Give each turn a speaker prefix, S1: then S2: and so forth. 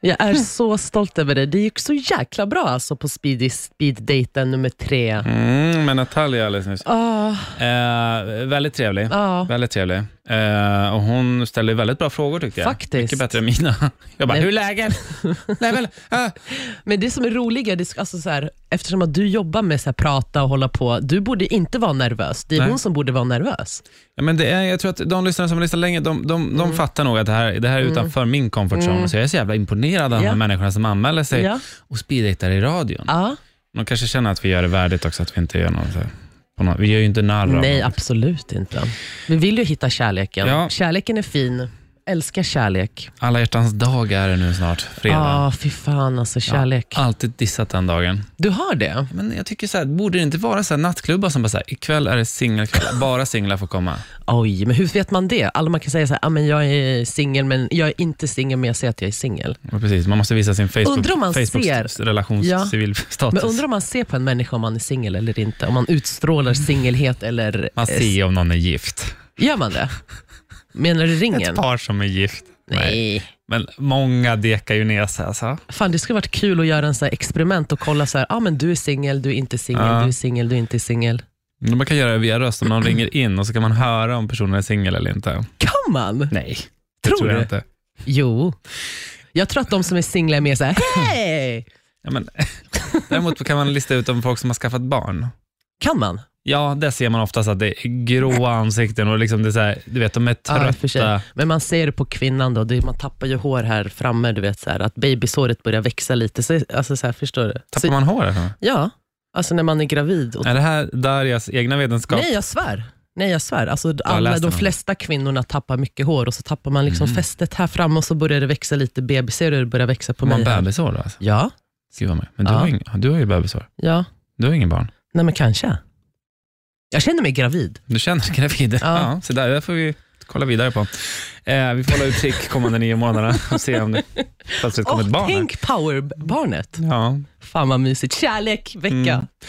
S1: Jag är så stolt över det. Det gick så jäkla bra alltså på speed, speed nummer tre.
S2: Mm, med Natalia alldeles nyss.
S1: Ah,
S2: Eh, väldigt trevlig.
S1: ah.
S2: Väldigt trevlig. Eh, och hon ställde väldigt bra frågor tyckte jag.
S1: Faktiskt.
S2: Mycket bättre än mina. Jag bara,
S1: Nej.
S2: hur är läget? Nej, men, ah.
S1: Men det som är roliga, det, är alltså så här, eftersom att du jobbar med så här, prata och hålla på, du borde inte vara nervös. Det är
S2: Nej.
S1: hon som borde vara nervös.
S2: Ja, men det är, jag tror att de lyssnare som har lyssnat länge, de, de, de
S1: Mm.
S2: fattar nog att det här, det här är utanför min comfort zone. Så jag är så jävla imponerad av de
S1: Ja.
S2: här människorna som anmäler sig
S1: Ja.
S2: och speeddejtar i radion.
S1: Ja.
S2: De kanske känner att vi gör det värdigt också, att vi inte gör något. så här- på något- Vi gör ju inte narr av
S1: Nej,
S2: någon.
S1: absolut inte. Vi vill ju hitta kärleken.
S2: Ja.
S1: Kärleken är fin. Älskar kärlek.
S2: Alla hjärtans dag är det nu snart, fredag.
S1: Ja, ah, fy fan alltså, kärlek.
S2: Alltid dissat den dagen.
S1: Du har det?
S2: Men jag tycker så här, borde det inte vara så här nattklubbar som bara så här, ikväll är det singelkväll, bara singlar får komma.
S1: Oj, men hur vet man det? Alla man kan säga så här, ah, men jag är singel, men jag är inte singel, men jag säger att jag är singel.
S2: Ja, Precis, man måste visa sin Facebook,
S1: Undrar om man
S2: Facebooks
S1: ser-
S2: relations
S1: Ja.
S2: civilstatus.
S1: Men undrar om man ser på en människa om man är singel eller inte? Om man utstrålar singelhet eller...
S2: Man
S1: eh,
S2: ser ju om någon är gift.
S1: Gör man det? Menar du ringen?
S2: Ett par som är gift.
S1: Nej.
S2: Men många dekar ju ner sig. Alltså.
S1: Fan, det skulle varit kul att göra en så här experiment och kolla så här, ah, men du är singel, du är inte singel,
S2: Ja.
S1: du är singel, du är inte singel.
S2: Men Man kan göra det via röst, om någon ringer in och så kan man höra om personen är singel eller inte.
S1: Kan man?
S2: Nej.
S1: Tror
S2: tror jag
S1: du?
S2: inte.
S1: Jo. Jag tror att de som är singlar är mer så här, hej!
S2: Ja, men, däremot kan man lista ut om folk som har skaffat barn.
S1: Kan man?
S2: Ja, där ser man oftast att det är gråa ansikten och liksom det är så här, du vet, de är
S1: Ja, i och för sig.
S2: trötta.
S1: Men man ser det på kvinnan då, det, man tappar ju hår här framme, du vet så här, att babysåret börjar växa lite. Så, alltså så här, förstår du?
S2: Tappar
S1: Så,
S2: man Äh, håret? då?
S1: ja, alltså när man är gravid. Och,
S2: Är det här Darias egna vetenskap?
S1: nej, jag svär. Nej, jag svär. Alltså,
S2: har
S1: alla,
S2: läst
S1: de
S2: den. Mm.
S1: flesta kvinnorna tappar mycket hår och så tappar man liksom fästet här framme och så börjar det växa lite bebis. Ser du hur det börjar växa på
S2: Har man
S1: mig? här?
S2: bebishår då? Alltså.
S1: Ja,
S2: Gud vad mig. Men du,
S1: Ja.
S2: har ing, du har ju bebishår.
S1: ja.
S2: Du har ingen barn.
S1: Nej, men kanske. Jag känner mig gravid.
S2: Du känner dig gravid?
S1: Ja.
S2: Ja. så där, det får vi kolla vidare på. Eh, vi får hålla utkik kommande nio månaderna och se om det plötsligt kommer ett
S1: Åh,
S2: barn. här.
S1: tänk powerbarnet.
S2: Ja.
S1: Fan vad mysigt. Kärlek, vecka.
S2: Mm.